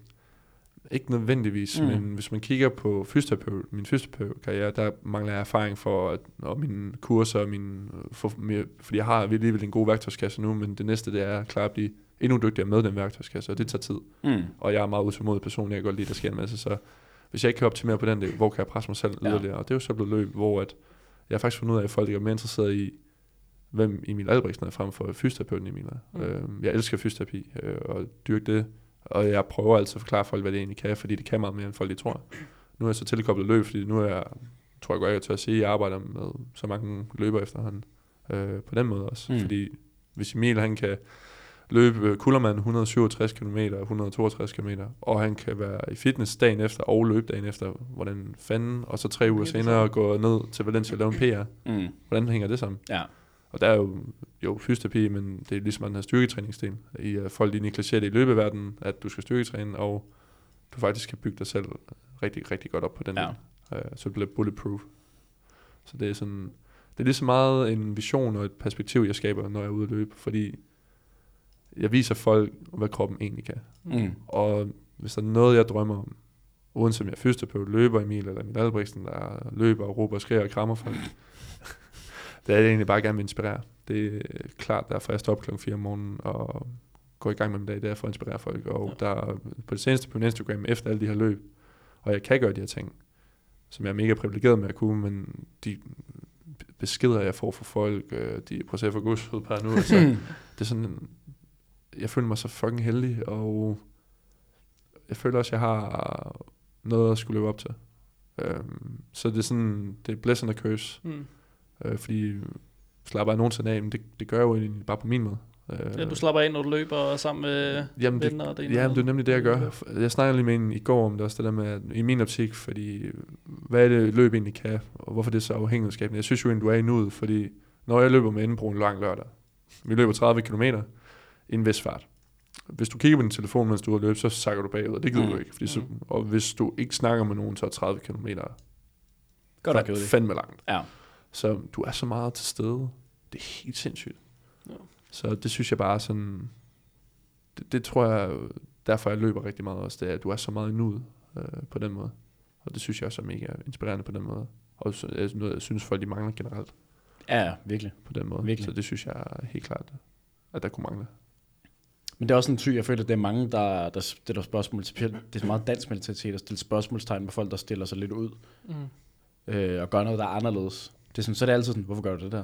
Speaker 2: Ikke nødvendigvis, mm.
Speaker 1: Mm.
Speaker 2: men hvis man kigger på fysioterapeut, min fysioterapeutkarriere, der mangler jeg erfaring for at, og mine kurser, og mine, for, mere, fordi jeg har alligevel en god værktøjskasse nu, men det næste det er at klare at blive endnu dygtigere med den værktøjskasse, og det tager tid
Speaker 1: Mm.
Speaker 2: og jeg er en meget utålmodig person, jeg kan godt lide, at der sker en masse, så hvis jeg ikke kan optimere på den del, hvor kan jeg presse mig selv
Speaker 1: Ja.
Speaker 2: yderligere? Og det er jo så blevet løb, hvor at jeg har faktisk fundet ud af, at folk er mere interesseret i, hvem Emil Albrechtsen er frem for fysioterapeuten Emil er. Mm.
Speaker 4: Mm.
Speaker 2: Øh, jeg elsker fysioterapi øh, og dyrke det, og jeg prøver altså at forklare folk, hvad det egentlig kan, fordi det kan meget mere, end folk de tror. Nu er jeg så tilkoblet løb, fordi nu er jeg, tror jeg godt, jeg tør at sige, at jeg arbejder med så mange løber efterhånden øh, på den måde også. Mm.
Speaker 1: Mm.
Speaker 2: Fordi hvis Emil han kan løbe øh, Kullermann 167 km, 162 km, og han kan være i fitness dagen efter og løbe dagen efter, hvordan fanden, og så tre uger
Speaker 4: det er
Speaker 2: senere gå ned til Valencia og lave en PR.
Speaker 1: Mm.
Speaker 2: Hvordan hænger det sammen?
Speaker 1: Ja.
Speaker 2: Og der er jo, jo fysioterapi, men det er ligesom den her styrketræningsdel. I, at folk lige negligerer det i løbeverdenen, at du skal styrketræne, og du faktisk kan bygge dig selv rigtig, rigtig godt op på den ja.
Speaker 1: Ja.
Speaker 2: del. Øh, så det bliver bulletproof. Så det er sådan, det er lige så meget en vision og et perspektiv, jeg skaber, når jeg er ude at løbe, fordi jeg viser folk, hvad kroppen egentlig kan.
Speaker 1: Mm.
Speaker 2: Og hvis der er noget, jeg drømmer om, uanset om jeg er fysioterapeut, løber Emil eller Emil Albrechtsen, der løber og råber og skriger og krammer folk, Det er det, jeg egentlig bare gerne vil inspirere. Det er øh, klart, derfor jeg står op klokken 4 om morgenen og går i gang med min dag, det er for at inspirere folk. Og ja. der er på det seneste på min Instagram, efter alle de her løb, og jeg kan gøre de her ting, som jeg er mega privilegeret med at kunne, men de beskeder, jeg får fra folk, øh, de prøver at få godshud per nu, altså, det er sådan, jeg føler mig så fucking heldig, og jeg føler også, jeg har noget at skulle leve op til. Øhm, så det er sådan, det er blessing og curse,
Speaker 4: Mm.
Speaker 2: øh, fordi slapper jeg nogensinde af, men det, det gør jeg jo egentlig bare på min måde. Øh,
Speaker 4: Ja, du slapper af, når du løber sammen med
Speaker 2: Jamen, det,
Speaker 4: venner og det ene og
Speaker 2: jamen, det er
Speaker 4: andet.
Speaker 2: nemlig det, jeg gør. Jeg snakkede lige med en i går om det også, det der med, at i min optik, fordi hvad er det løb egentlig kan, og hvorfor det er så afhængighedsskabende. Jeg synes jo egentlig, du er i nuet, fordi når jeg løber med Indebroen lang lørdag, vi løber 30 km i en vis fart. Hvis du kigger på din telefon, mens du er løbet, så sakker du bagud, og det gider
Speaker 1: Mm.
Speaker 2: mm. du ikke. Fordi så, og hvis du ikke snakker med nogen, så er 30 km
Speaker 1: Godt nok kedeligt.
Speaker 2: fandme langt.
Speaker 1: Ja.
Speaker 2: Så du er så meget til stede. Det er helt sindssygt.
Speaker 4: Ja.
Speaker 2: Så det synes jeg bare er sådan... Det, det tror jeg, derfor jeg løber rigtig meget også, det er, at du er så meget i nuet øh, på den måde. Og det synes jeg også er mega inspirerende på den måde. Og så, er noget, jeg synes folk, de mangler generelt
Speaker 1: Ja, ja, virkelig.
Speaker 2: på den måde.
Speaker 1: Virkelig.
Speaker 2: Så det synes jeg er helt klart, at der kunne mangle.
Speaker 1: Men det er også en ty, jeg føler, at det er mange, der, der stiller spørgsmål til. Det er meget dansk mentalitet at stille spørgsmålstegn med folk, der stiller sig lidt ud.
Speaker 4: Mm.
Speaker 1: øh, og gør noget, der er anderledes. Det er sådan, så er det altid sådan, hvorfor gør du det der?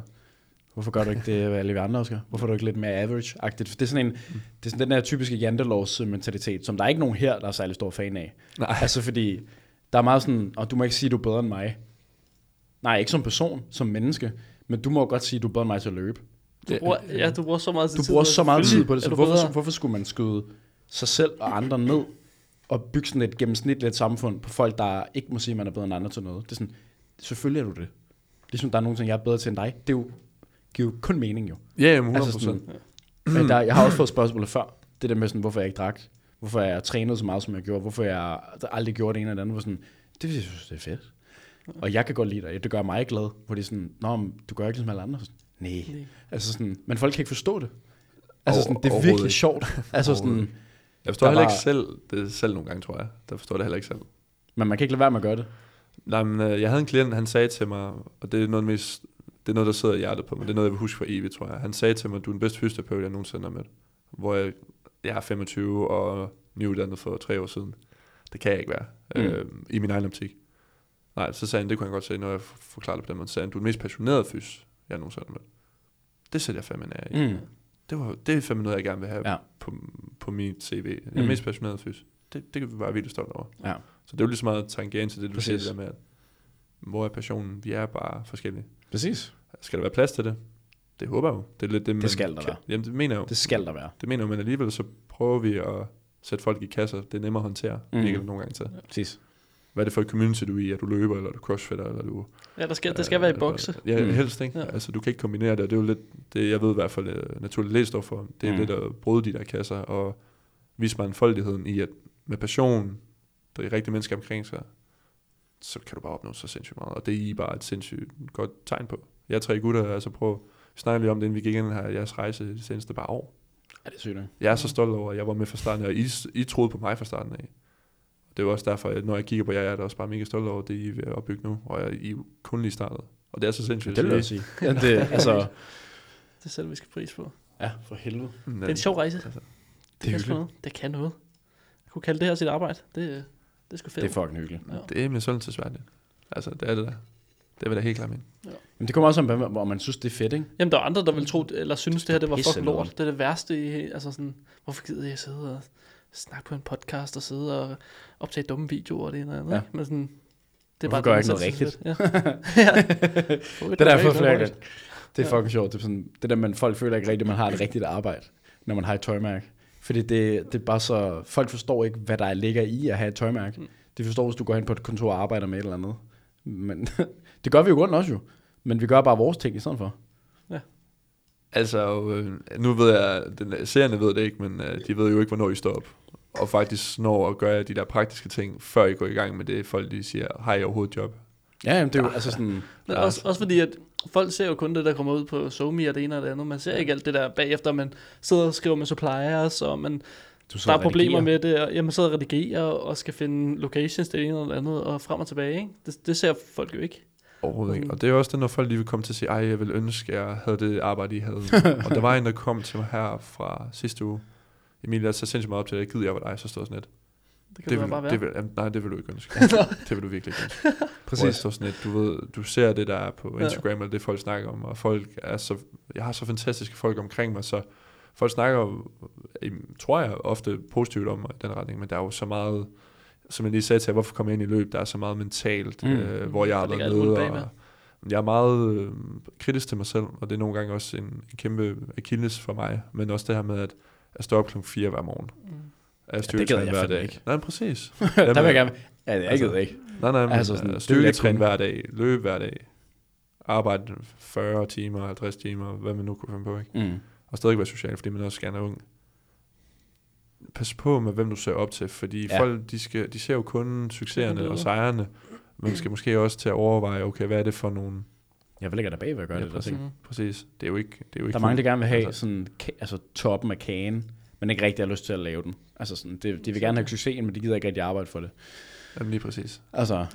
Speaker 1: Hvorfor gør du ikke det, hvad alle vi andre også gør? Hvorfor er du ikke lidt mere average-agtigt? For Det er sådan, en, det er sådan den der typiske jantelovs-mentalitet, som der er ikke nogen her, der er særlig stor fan af.
Speaker 2: Nej.
Speaker 1: Altså fordi, der er meget sådan, og du må ikke sige, du er bedre end mig. Nej, ikke som person, som menneske, men du må jo godt sige, du er bedre end mig til at løbe.
Speaker 4: Du bruger, ja, du bruger så meget
Speaker 1: Du bruger så meget tid på det,
Speaker 4: så
Speaker 1: så hvorfor, hvorfor skulle man skyde sig selv og andre ned og bygge sådan et gennemsnitligt samfund på folk, der ikke må sige, at man er bedre end andre til noget? Det er sådan, selvfølgelig er du det. Ligesom der er nogen ting, jeg er bedre til end dig. Det er jo, giver jo kun mening jo.
Speaker 2: Ja, jamen 100%.
Speaker 1: Altså sådan, men der, jeg har også fået spørgsmålet før. Det der med sådan, hvorfor jeg ikke drak. Hvorfor jeg trænede så meget, som jeg gjorde. Hvorfor jeg aldrig gjorde det ene eller det andet. Hvor sådan, det synes jeg synes, det er fedt. Og jeg kan godt lide dig. Det gør mig glad. Hvor det er sådan, Nå, men du gør ikke ligesom alle andre. Sådan, Nej.
Speaker 4: Nej.
Speaker 1: Altså sådan, men folk kan ikke forstå det. Altså
Speaker 2: Over-
Speaker 1: sådan, det er
Speaker 2: overhovedet
Speaker 1: virkelig
Speaker 2: ikke.
Speaker 1: sjovt. [laughs] Altså sådan,
Speaker 2: jeg forstår
Speaker 1: der
Speaker 2: heller ikke
Speaker 1: var-
Speaker 2: selv det selv nogle gange, tror jeg. Der forstår jeg det heller ikke selv.
Speaker 1: men man kan ikke lade være med at gøre det.
Speaker 2: Nej, men øh, jeg havde en klient, han sagde til mig, og det er noget, af det mest, det er noget der sidder i hjertet på mig, det er noget, jeg vil huske for evigt, tror jeg. Han sagde til mig, du er den bedste fysioterapeut, jeg nogensinde har mødt. Hvor jeg, jeg er 25 og nyuddannet for tre år siden. Det kan jeg ikke være, mm. øh, i min egen optik. Nej, så sagde han, det kunne han godt se, når jeg f- forklarede det på den måde. Så sagde han, du er den mest passionerede fys, jeg nogensinde har mødt. Det sætter jeg fandme af. Mm.
Speaker 1: Mm.
Speaker 2: Det, var, det er fandme noget, jeg gerne vil have
Speaker 1: Ja.
Speaker 2: ja. på, på mit CV. Jeg er
Speaker 1: Mm.
Speaker 2: den mest passionerede fys. Det, det kan vi bare virkelig stolt over.
Speaker 1: Ja.
Speaker 2: Så det er jo lige så meget tangent til det, du siger, det
Speaker 1: Præcis.
Speaker 2: der med, at hvor er passionen? Vi er bare forskellige.
Speaker 1: Præcis.
Speaker 2: Skal der være plads til det? Det håber jeg jo. Det, er lidt det, man
Speaker 1: skal der
Speaker 2: kan-
Speaker 1: være.
Speaker 2: Jamen, det mener jeg jo.
Speaker 1: Det
Speaker 2: Det,
Speaker 1: skal der være.
Speaker 2: det mener jeg jo, men alligevel så prøver vi at sætte folk i kasser. Det er nemmere at håndtere,
Speaker 1: Mm.
Speaker 2: mm. ikke nogle gange til.
Speaker 1: Præcis.
Speaker 2: Hvad er det for et community, du er i? Er du løber, eller er du crossfitter, eller er du...
Speaker 4: Ja, der skal, det skal være i bokse.
Speaker 2: Ja,
Speaker 1: Mm.
Speaker 2: mm. helst ikke.
Speaker 4: Ja.
Speaker 2: Ja. Altså, du kan ikke kombinere det, og det er jo lidt, det jeg ved i hvert fald, øh, naturligt læst står for, det er
Speaker 1: Mm.
Speaker 2: mm. lidt at bryde de der kasser, og vise mig enfoldigheden i, at med passion, der er rigtige mennesker omkring sig, så kan du bare opnå så sindssygt meget, og det er I bare et sindssygt godt tegn på. Jeg er tre gutter, altså prøv at snakke lige om det, inden vi gik ind her, jeres rejse de seneste par år.
Speaker 1: Ja, det er sygt. ikke?
Speaker 2: Jeg er så stolt over, at jeg var med fra starten af, og I, I troede på mig fra starten af. Det er jo også derfor, at når jeg kigger på jer, jeg er da også bare mega stolt over det, I er ved at opbygge nu, og jeg, I er jo kun lige startet. Og det er så sindssygt.
Speaker 1: Det vil jeg
Speaker 2: at
Speaker 1: sige. Ja, det, altså,
Speaker 4: Det er selv, vi skal pris på.
Speaker 1: ja, for helvede.
Speaker 2: sige. Men,
Speaker 4: Det er en sjov rejse.
Speaker 2: altså,
Speaker 4: Det, kan sgu noget. det kan noget. Jeg kunne kalde det her sit arbejde. Det, øh, det er sgu fedt.
Speaker 1: Det er fucking hyggeligt.
Speaker 4: Ja.
Speaker 2: Det er med sådan tilsværdigt. Altså, det er det der. Det vil jeg da helt klart mene.
Speaker 1: Men det kommer også om, hvad man- hvor man synes, det er fedt, ikke?
Speaker 4: Jamen, der er andre, der vil tro, eller synes, det her det var
Speaker 1: pisse
Speaker 4: fucking lort.
Speaker 1: lort.
Speaker 4: Det er det værste i, altså sådan, hvorfor gider jeg sidde og snakke på en podcast og sidde og optage dumme videoer og det ene og andet.
Speaker 1: Ja.
Speaker 4: Ja. Men sådan, det
Speaker 1: Hvorfor
Speaker 4: er bare
Speaker 1: gør jeg
Speaker 4: det, man
Speaker 1: ikke
Speaker 4: selv
Speaker 1: noget
Speaker 4: synes er
Speaker 1: [laughs]
Speaker 4: fedt. Ja. ja.
Speaker 1: Det er derfor,
Speaker 4: Hvorfor gør
Speaker 1: flere
Speaker 4: jeg
Speaker 1: gange.
Speaker 4: ikke
Speaker 1: Det er
Speaker 4: Ja.
Speaker 1: fucking sjovt. Det, er sådan, det der, man folk føler ikke rigtigt, at man har et rigtigt arbejde, når man har et tøjmærke. Fordi det, det er bare så... Folk forstår ikke, hvad der ligger i at have et tøjmærke. Mm. De forstår, hvis du går hen på et kontor og arbejder med et eller andet. Men [laughs] det gør vi jo rundt også jo. Men vi gør bare vores ting i stedet for.
Speaker 2: Altså, øh, nu ved jeg, den, seerne ved det ikke, men øh, de ved jo ikke, hvornår I står op. Og faktisk når at gøre de der praktiske ting, før I går i gang med det, folk de siger, har I overhovedet job?
Speaker 1: Ja, jamen, det er jo altså sådan...
Speaker 4: Men
Speaker 2: Ja.
Speaker 4: også, også fordi, at folk ser jo kun det, der kommer ud på SoMe og det ene og det andet. Man ser ikke alt det der bagefter. Man sidder og skriver med suppliers, og man,
Speaker 1: Du
Speaker 4: der er problemer
Speaker 1: [laughs]
Speaker 4: med det. Og, ja, man sidder og redigerer og skal finde locations det ene og det andet, og frem og tilbage. Ikke? Det, det ser folk jo ikke.
Speaker 2: Overhovedet ikke. Og det er også det, når folk lige vil komme til at sige, ej, jeg vil ønske, jeg havde det arbejde, I havde. og der var en, der kom til mig her fra sidste uge. Emil, jeg er så sindssygt meget op til dig. Gider jeg var dig, så står sådan lidt.
Speaker 4: Det kan
Speaker 2: Det,
Speaker 4: det
Speaker 2: vil,
Speaker 4: bare være.
Speaker 2: det vil, jamen, nej, det vil du ikke
Speaker 4: [laughs]
Speaker 2: ønske. det vil du virkelig ikke ønske. Hvor jeg står sådan lidt, du, ved, du ser det, der er på
Speaker 4: Ja.
Speaker 2: Instagram, og det folk snakker om, og folk er så, jeg har så fantastiske folk omkring mig, så folk snakker, jo, em, tror jeg, ofte positivt om mig i den retning, men der er jo så meget, som jeg lige sagde til jer, hvorfor kom jeg ind i løb, der er så meget mentalt,
Speaker 1: Mm.
Speaker 2: mm. øh, hvor jeg har
Speaker 4: Der ligger
Speaker 2: været
Speaker 4: alt muligt
Speaker 2: nede,
Speaker 4: bagved.
Speaker 2: og jeg er meget øh, kritisk til mig selv, og det er nogle gange også en, en kæmpe akilles for mig, men også det her med, at jeg står op klokken 4 hver morgen.
Speaker 4: Mm.
Speaker 2: Er
Speaker 1: det gider jeg
Speaker 2: styrketræner hver
Speaker 1: fandme
Speaker 2: dag.
Speaker 1: ikke.
Speaker 2: Nej, men præcis.
Speaker 1: der vil jeg
Speaker 2: Jamen,
Speaker 1: gerne... Ja, jeg gider
Speaker 2: altså-
Speaker 1: ikke.
Speaker 2: Nej, nej, men
Speaker 1: Altså
Speaker 2: altså
Speaker 1: sådan, det vil
Speaker 2: sådan,
Speaker 1: jeg
Speaker 2: styrketræn
Speaker 1: kunne.
Speaker 2: hver dag, løbe hver dag, arbejde 40 timer, 50 timer, hvad man nu kunne finde på, ikke?
Speaker 1: Mm.
Speaker 2: Og stadig være social, fordi man også gerne er ung. Pas på med, hvem du ser op til, fordi
Speaker 1: Ja.
Speaker 2: ja. folk, de, skal, de ser jo kun
Speaker 4: Ja, det
Speaker 2: succeserne
Speaker 4: er
Speaker 2: og
Speaker 4: det.
Speaker 2: sejrene, men skal måske også til at overveje, okay, hvad er det for nogle...
Speaker 1: Jeg vil ikke der bag, hvad jeg gør
Speaker 2: Ja,
Speaker 1: det. Der, ting.
Speaker 4: Mm.
Speaker 2: Præcis, det er jo ikke... Det er jo ikke
Speaker 1: der er mange, der gerne vil have
Speaker 2: Altså.
Speaker 1: sådan, ka- altså, toppen af kagen, men ikke rigtig har lyst til at lave den. Altså sådan, det, de vil gerne have succesen, men de gider ikke rigtig arbejde for det.
Speaker 2: Jamen lige præcis.
Speaker 1: Altså,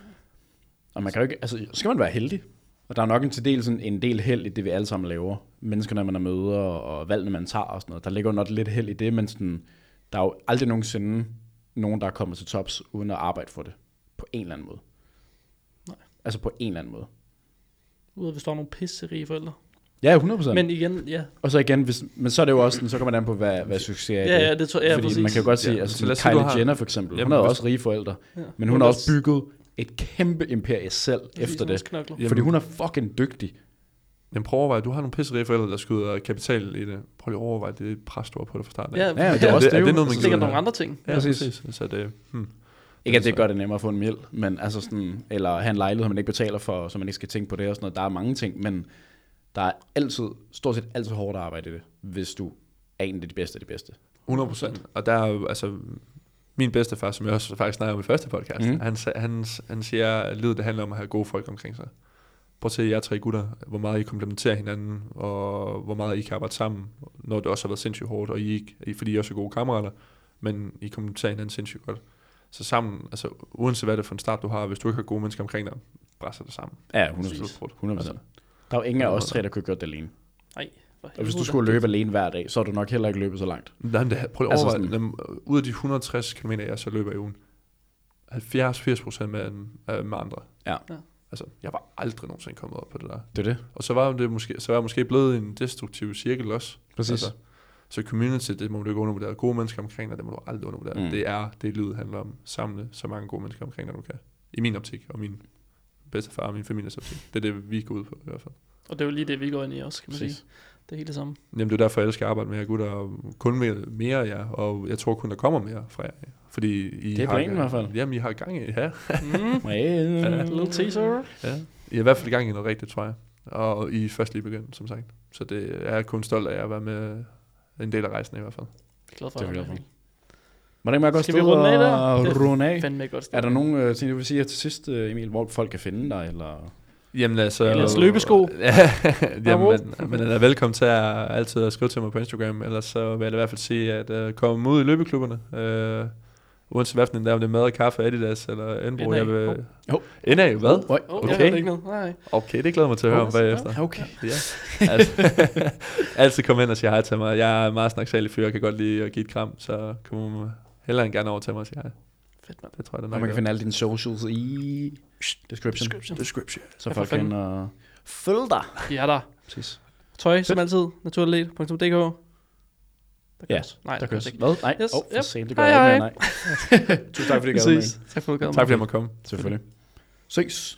Speaker 1: og man kan jo ikke, altså, så skal man være heldig. Og der er nok en, til del, sådan, en del held i det, vi alle sammen laver. Menneskerne, man er møder, og valgene, man tager og sådan noget. Der ligger jo nok lidt held i det, men sådan, der er jo aldrig nogensinde nogen, der er kommet til tops, uden at arbejde for det. På en eller anden måde.
Speaker 4: Nej.
Speaker 1: Altså på en eller anden måde.
Speaker 4: Udover hvis der var nogle pisserige forældre.
Speaker 1: Ja, 100%. Men,
Speaker 4: Men igen, ja.
Speaker 1: og så igen, hvis, men så er det jo også sådan, så kommer det an på, hvad, hvad succes er i
Speaker 4: Ja,
Speaker 1: det.
Speaker 4: ja, det tror jeg, ja,
Speaker 1: Fordi
Speaker 4: præcis.
Speaker 1: man kan jo godt sige,
Speaker 2: Ja,
Speaker 1: altså
Speaker 2: så lad
Speaker 1: sådan
Speaker 2: os sige,
Speaker 1: Kylie
Speaker 2: du har-
Speaker 1: Jenner for eksempel,
Speaker 2: Jamen,
Speaker 1: hun har jo
Speaker 2: hvis-
Speaker 1: også rige forældre,
Speaker 4: Ja.
Speaker 1: men hun har også bygget et kæmpe imperie selv efter det.
Speaker 4: Knokler.
Speaker 2: Ja.
Speaker 1: Fordi
Speaker 2: Jamen-
Speaker 1: hun er fucking dygtig.
Speaker 2: Jamen prøv at overveje, du har nogle pisserige forældre, der skyder kapital i det. Prøv lige at overveje, det er pres, du har på det fra starten. af.
Speaker 4: Ja,
Speaker 1: Ja, det
Speaker 4: ja,
Speaker 1: er også
Speaker 2: er
Speaker 1: det,
Speaker 2: det
Speaker 1: jo.
Speaker 2: noget, man
Speaker 4: Så
Speaker 1: Altså,
Speaker 4: ligger
Speaker 2: gider?
Speaker 4: der nogle andre ting.
Speaker 2: ja
Speaker 1: præcis.
Speaker 2: præcis. præcis. Så det, hmm.
Speaker 1: Ikke at det gør det nemmere at få en mild, men altså sådan, eller have en lejlighed, man ikke betaler for, så man ikke skal tænke på det og sådan noget. Der er mange ting, men der er altid, stort set altid hårdt arbejde i det, hvis du er en af de bedste af de bedste.
Speaker 2: 100 procent. Og der er jo, altså, min bedstefar, som jeg også faktisk snakkede om i første podcast,
Speaker 1: Mhm.
Speaker 2: mm. han, sa- han, han siger, at livet det handler om at have gode folk omkring sig. Prøv at se jer tre gutter, hvor meget I komplementerer hinanden, og hvor meget I kan arbejde sammen, når det også har været sindssygt hårdt, og I ikke, I- fordi I også er gode kammerater, men I komplementerer hinanden sindssygt godt. Så sammen, altså uanset hvad det er for en start, du har, hvis du ikke har gode mennesker omkring dig, brænder det sammen.
Speaker 1: Ja,
Speaker 2: Slut
Speaker 1: 100%.
Speaker 2: brudt.
Speaker 1: 100%.
Speaker 2: Altså,
Speaker 1: Der er jo ingen af os tre, der kunne gøre det alene.
Speaker 4: Nej. for
Speaker 1: Og hvis du
Speaker 4: helvede.
Speaker 1: skulle løbe alene hver dag, så er du nok heller ikke løbet så langt.
Speaker 2: Nej, men det, prøv lige at
Speaker 1: Altså
Speaker 2: overveje, altså ud af de 160 km, jeg så løber i ugen, 70-80 procent med, øh, med andre.
Speaker 1: Ja.
Speaker 4: Ja.
Speaker 2: Altså, jeg var aldrig nogensinde kommet op på det der.
Speaker 1: Det er det.
Speaker 2: Og så var, det måske, så var jeg måske blevet i en destruktiv cirkel også.
Speaker 1: Præcis.
Speaker 2: Altså, så community, det må du ikke undervurdere. Gode mennesker omkring dig, det må du aldrig undervurdere.
Speaker 1: Mm.
Speaker 2: Mm. Det er det, livet handler om. Samle så mange gode mennesker omkring dig, du kan. I min optik, og min bedstefar og min families optik. Det er det, vi går ud på i hvert fald.
Speaker 4: Og det er jo lige det, vi går ind i også, kan man sige.
Speaker 1: Præcis.
Speaker 4: Det er helt det samme.
Speaker 2: Jamen, det er derfor, jeg elsker at arbejde med jer gutter, og kun mere, mere af jer, og jeg tror kun, der kommer mere fra jer. Fordi I
Speaker 1: Det er
Speaker 2: har
Speaker 1: planen i hvert fald.
Speaker 2: Jamen, I har gang i, ja.
Speaker 4: Mm.
Speaker 1: Ja.
Speaker 4: Little teaser.
Speaker 2: ja. I har i hvert fald gang i noget rigtigt, tror jeg. Og I er først lige begyndt, som sagt. Så det jeg er kun stolt af jer at være med en del af rejsen i hvert fald.
Speaker 4: Jeg er glad for,
Speaker 1: Det
Speaker 4: at
Speaker 1: er vi glad for.
Speaker 4: det
Speaker 1: Hvordan kan man godt
Speaker 4: Skal vi
Speaker 1: stå
Speaker 4: runde af der?
Speaker 1: og
Speaker 4: Det er
Speaker 1: runde af?
Speaker 4: er fandme et godt sted.
Speaker 1: Er der nogen øh, ting, du vil sige her til sidst, øh, Emil, hvor folk kan finde dig? Eller?
Speaker 2: Jamen altså...
Speaker 4: Ellers løbesko.
Speaker 2: [laughs] Ja, jamen,
Speaker 4: Bravo.
Speaker 2: man, man er da velkommen til at altid at skrive til mig på Instagram, ellers så vil jeg da i hvert fald sige, at uh, komme ud i løbeklubberne. Uh, uanset hvad for en der, er, om det er mad og kaffe, Adidas eller Enbro.
Speaker 4: NA.
Speaker 2: Jeg vil...
Speaker 1: Hov.
Speaker 2: NA, hvad?
Speaker 1: Øj,
Speaker 4: Oh, okay.
Speaker 2: Okay.
Speaker 4: Jeg ved det ikke noget. Nej.
Speaker 2: Okay, det glæder jeg mig til at høre om
Speaker 4: Hov,
Speaker 2: bagefter.
Speaker 1: okay.
Speaker 2: Ja. Altså, [laughs] altid kom ind og sige hej til mig. Jeg er meget snaksalig fyr, jeg kan godt lide at give et kram, så kom hellere end gerne over til mig og sige hej.
Speaker 4: Fedt, mand.
Speaker 2: Det tror jeg, det er
Speaker 1: Og man kan
Speaker 2: nok.
Speaker 1: finde alle dine socials i description,
Speaker 4: Description.
Speaker 2: Description.
Speaker 1: så
Speaker 4: Ja,
Speaker 1: folk
Speaker 4: for
Speaker 1: kan øh, følge dig.
Speaker 4: Vi er der.
Speaker 1: Præcis.
Speaker 4: Tøj, som altid. Naturligt.dk. Der
Speaker 1: Ja,
Speaker 4: køres. Nej,
Speaker 1: Der
Speaker 4: der
Speaker 1: kører
Speaker 4: køres
Speaker 1: sig.
Speaker 4: ikke.
Speaker 1: Hvad? Nej,
Speaker 4: Yes,
Speaker 1: yes, oh, for
Speaker 4: yep.
Speaker 1: sent, det gør
Speaker 4: Hej,
Speaker 1: jeg ikke
Speaker 4: hej. [laughs]
Speaker 1: mere, nej. Tusind tak, fordi I gad med.
Speaker 4: Præcis. Tak for at du gad med.
Speaker 2: Tak fordi jeg måtte komme.
Speaker 1: Selvfølgelig. Ses.